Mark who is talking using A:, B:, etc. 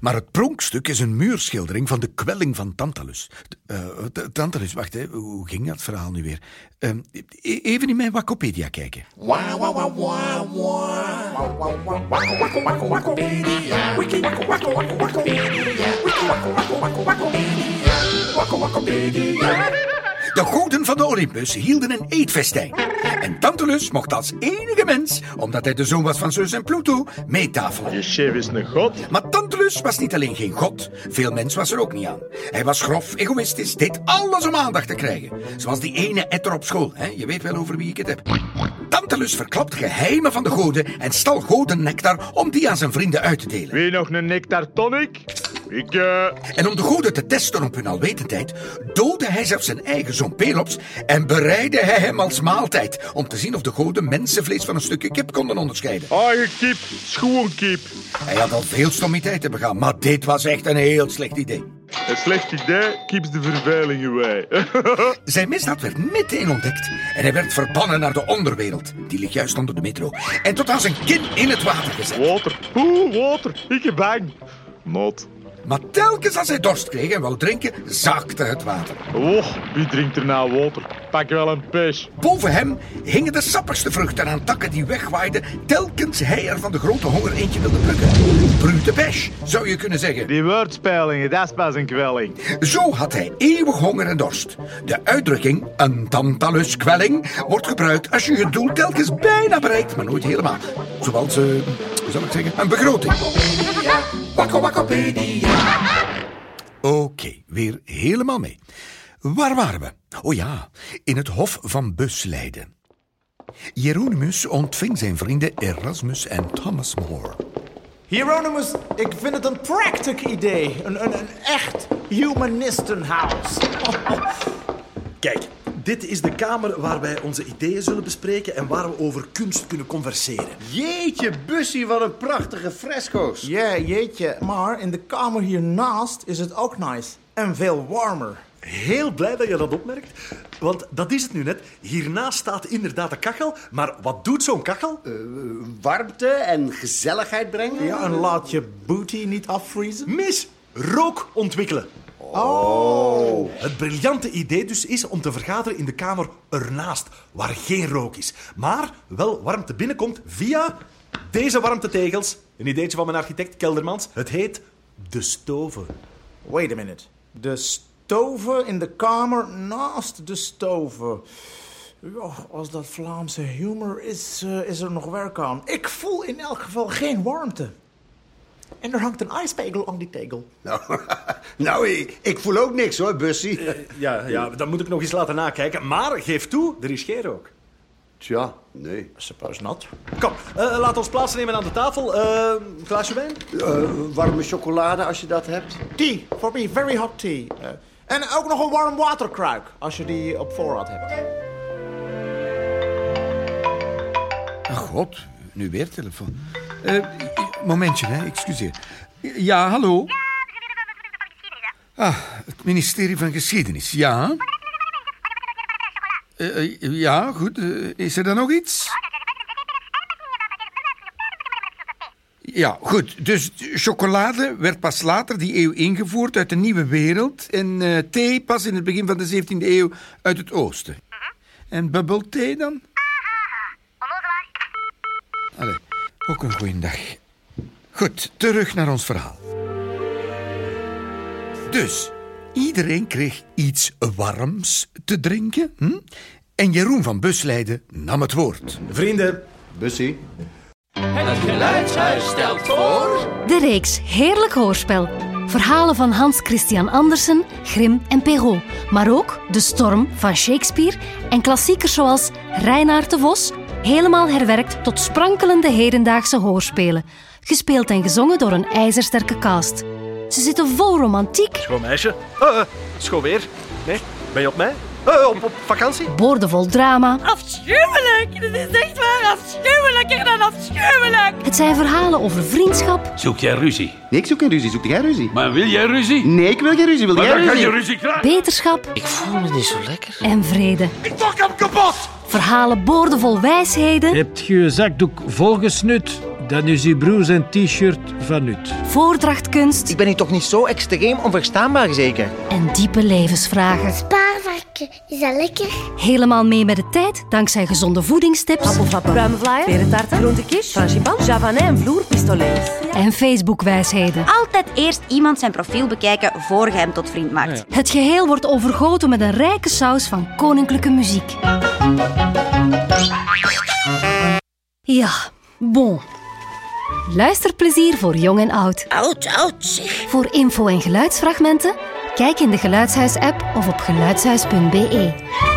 A: Maar het pronkstuk is een muurschildering van de kwelling van Tantalus. D- eh, t- Tantalus, wacht, hè. hoe ging dat verhaal nu weer? Eh, e- even in mijn Wikipedia kijken. De goden van de Olympus hielden een eetfestijn. En Tantalus mocht als enige mens, omdat hij de zoon was van Zeus en Pluto, meetafelen.
B: Je chef is een god.
A: Maar Tantalus was niet alleen geen god, veel mens was er ook niet aan. Hij was grof, egoïstisch, deed alles om aandacht te krijgen. Zoals die ene etter op school, hè? je weet wel over wie ik het heb. Tantalus verklapt geheimen van de goden en stal godennectar om die aan zijn vrienden uit te delen.
B: Wie nog een nectar tonic? Ik, eh...
A: En om de goden te testen op hun alwetendheid, doodde hij zelfs zijn eigen zoon Pelops en bereidde hij hem als maaltijd om te zien of de goden mensenvlees van een stukje kip konden onderscheiden.
B: Eigen kip, schoenkip.
A: Hij had al veel stommiteiten begaan, maar dit was echt een heel slecht idee.
B: Een slecht idee, kips de vervuilingen wij.
A: Zijn misdaad werd meteen ontdekt en hij werd verbannen naar de onderwereld. Die ligt juist onder de metro. En tot aan zijn kin in het water gezet.
B: water, poeh, water, ik heb bang. Not.
A: Maar telkens als hij dorst kreeg en wou drinken, zakte het water.
B: Oh, wie drinkt er nou water? Pak wel een pes.
A: Boven hem hingen de sappigste vruchten aan takken die wegwaaiden... telkens hij er van de grote honger eentje wilde plukken. Brute pech, zou je kunnen zeggen.
B: Die woordspelingen, dat is pas een kwelling.
A: Zo had hij eeuwig honger en dorst. De uitdrukking een tantaluskwelling wordt gebruikt als je je doel telkens bijna bereikt, maar nooit helemaal. Zoals, eh, hoe zal ik zeggen, een begroting. Wakko, wakkopedia. Oké, weer helemaal mee. Waar waren we? Oh ja, in het hof van Busleiden. Jeronimus ontving zijn vrienden Erasmus en Thomas More.
C: Hieronymus, ik vind het een prachtig idee. Een, een, een echt humanistenhuis.
D: Kijk, dit is de kamer waar wij onze ideeën zullen bespreken en waar we over kunst kunnen converseren.
E: Jeetje, Bussie, wat een prachtige fresco's.
C: Ja, jeetje. Maar in de kamer hiernaast is het ook nice. En veel warmer.
D: Heel blij dat je dat opmerkt, want dat is het nu net. Hiernaast staat inderdaad een kachel, maar wat doet zo'n kachel?
E: Warmte en gezelligheid brengen.
C: Ja, en laat je booty niet afvriezen.
D: Mis, rook ontwikkelen. Oh. Het briljante idee dus is om te vergaderen in de kamer ernaast, waar geen rook is, maar wel warmte binnenkomt via deze warmtetegels. Een ideetje van mijn architect Keldermans. Het heet de stoven.
C: Wait a minute. De stoven in de kamer naast de stoven. Ja, als dat Vlaamse humor is, eh, is er nog werk aan. Ik voel in elk geval geen warmte. En er hangt een ijspegel aan die tegel.
E: Nou, nou ik, ik voel ook niks hoor, Bussie.
D: Ja, ja, dat moet ik nog eens laten nakijken. Maar geef toe, er is geen rook.
E: Tja, nee.
C: Suppose not.
D: Kom, eh, laat ons plaatsnemen aan de tafel. Eh, een glaasje wijn?
E: Eh, warme chocolade als je dat hebt.
C: Tea, for me, very hot tea. Eh, en ook nog een warm waterkruik, als je die op voorraad hebt.
A: Ach god, nu weer telefoon. Eh, momentje, hè, excuseer. Ja, hallo. Ah, het ministerie van Geschiedenis, ja. Eh, eh, ja, goed. eh, is er dan nog iets? Ja, goed. Dus chocolade werd pas later die eeuw ingevoerd uit de nieuwe wereld. En eh, thee pas in het begin van de 17e eeuw uit het oosten. En bubble thee dan? Allee, ook een goeiedag. Goed, terug naar ons verhaal. Dus, iedereen kreeg iets warms te drinken. Hm? En Jeroen van Busleiden nam het woord.
D: Vrienden,
E: Bussie.
F: De reeks Heerlijk Hoorspel. Verhalen van Hans Christian Andersen, Grimm en Perrault. Maar ook De Storm van Shakespeare en klassiekers zoals Reinaard de Vos. Helemaal herwerkt tot sprankelende hedendaagse hoorspelen. Gespeeld en gezongen door een ijzersterke cast. Ze zitten vol romantiek,
D: schoon meisje. Eh, eh, schoon weer. Nee, ben je op mij? Eh, op, op vakantie?
F: boordevol drama.
G: Afschuwelijk! Dit is echt waar afschuwelijker dan afschuwelijk!
F: Het zijn verhalen over vriendschap,
H: Zoek jij ruzie?
E: Nee, ik zoek geen ruzie. Zoek jij ruzie?
H: Maar wil jij ruzie?
E: Nee, ik wil geen ruzie. Wil
H: Maar
E: jij
H: dan kan je
E: ruzie?
H: ruzie krijgen.
F: beterschap
I: Ik voel me niet zo lekker.
F: en vrede.
H: Ik pak hem kapot!
F: Verhalen boordevol wijsheden
J: Hebt je je zakdoek volgesnut
H: Dan is uw broer zijn t-shirt van nut.
F: voordrachtkunst
I: Ik ben hier toch niet zo extreem onverstaanbaar, zeker?
F: en diepe levensvragen.
J: Spaarvarken, is dat lekker?
F: Helemaal mee met de tijd dankzij gezonde voedingstips
G: Bruine vlaaien, perentaarten, blonde kies, frangipan, javanin en vloerpistolets.
F: en Facebookwijsheden.
J: Altijd eerst iemand zijn profiel bekijken voor je hem tot vriend maakt.
F: Het geheel wordt overgoten met een rijke saus van koninklijke muziek. Ja, bon. Luisterplezier voor jong en oud.
J: Oud, oud zeg.
F: Voor info en geluidsfragmenten, kijk in de Geluidshuis-app of op geluidshuis.be.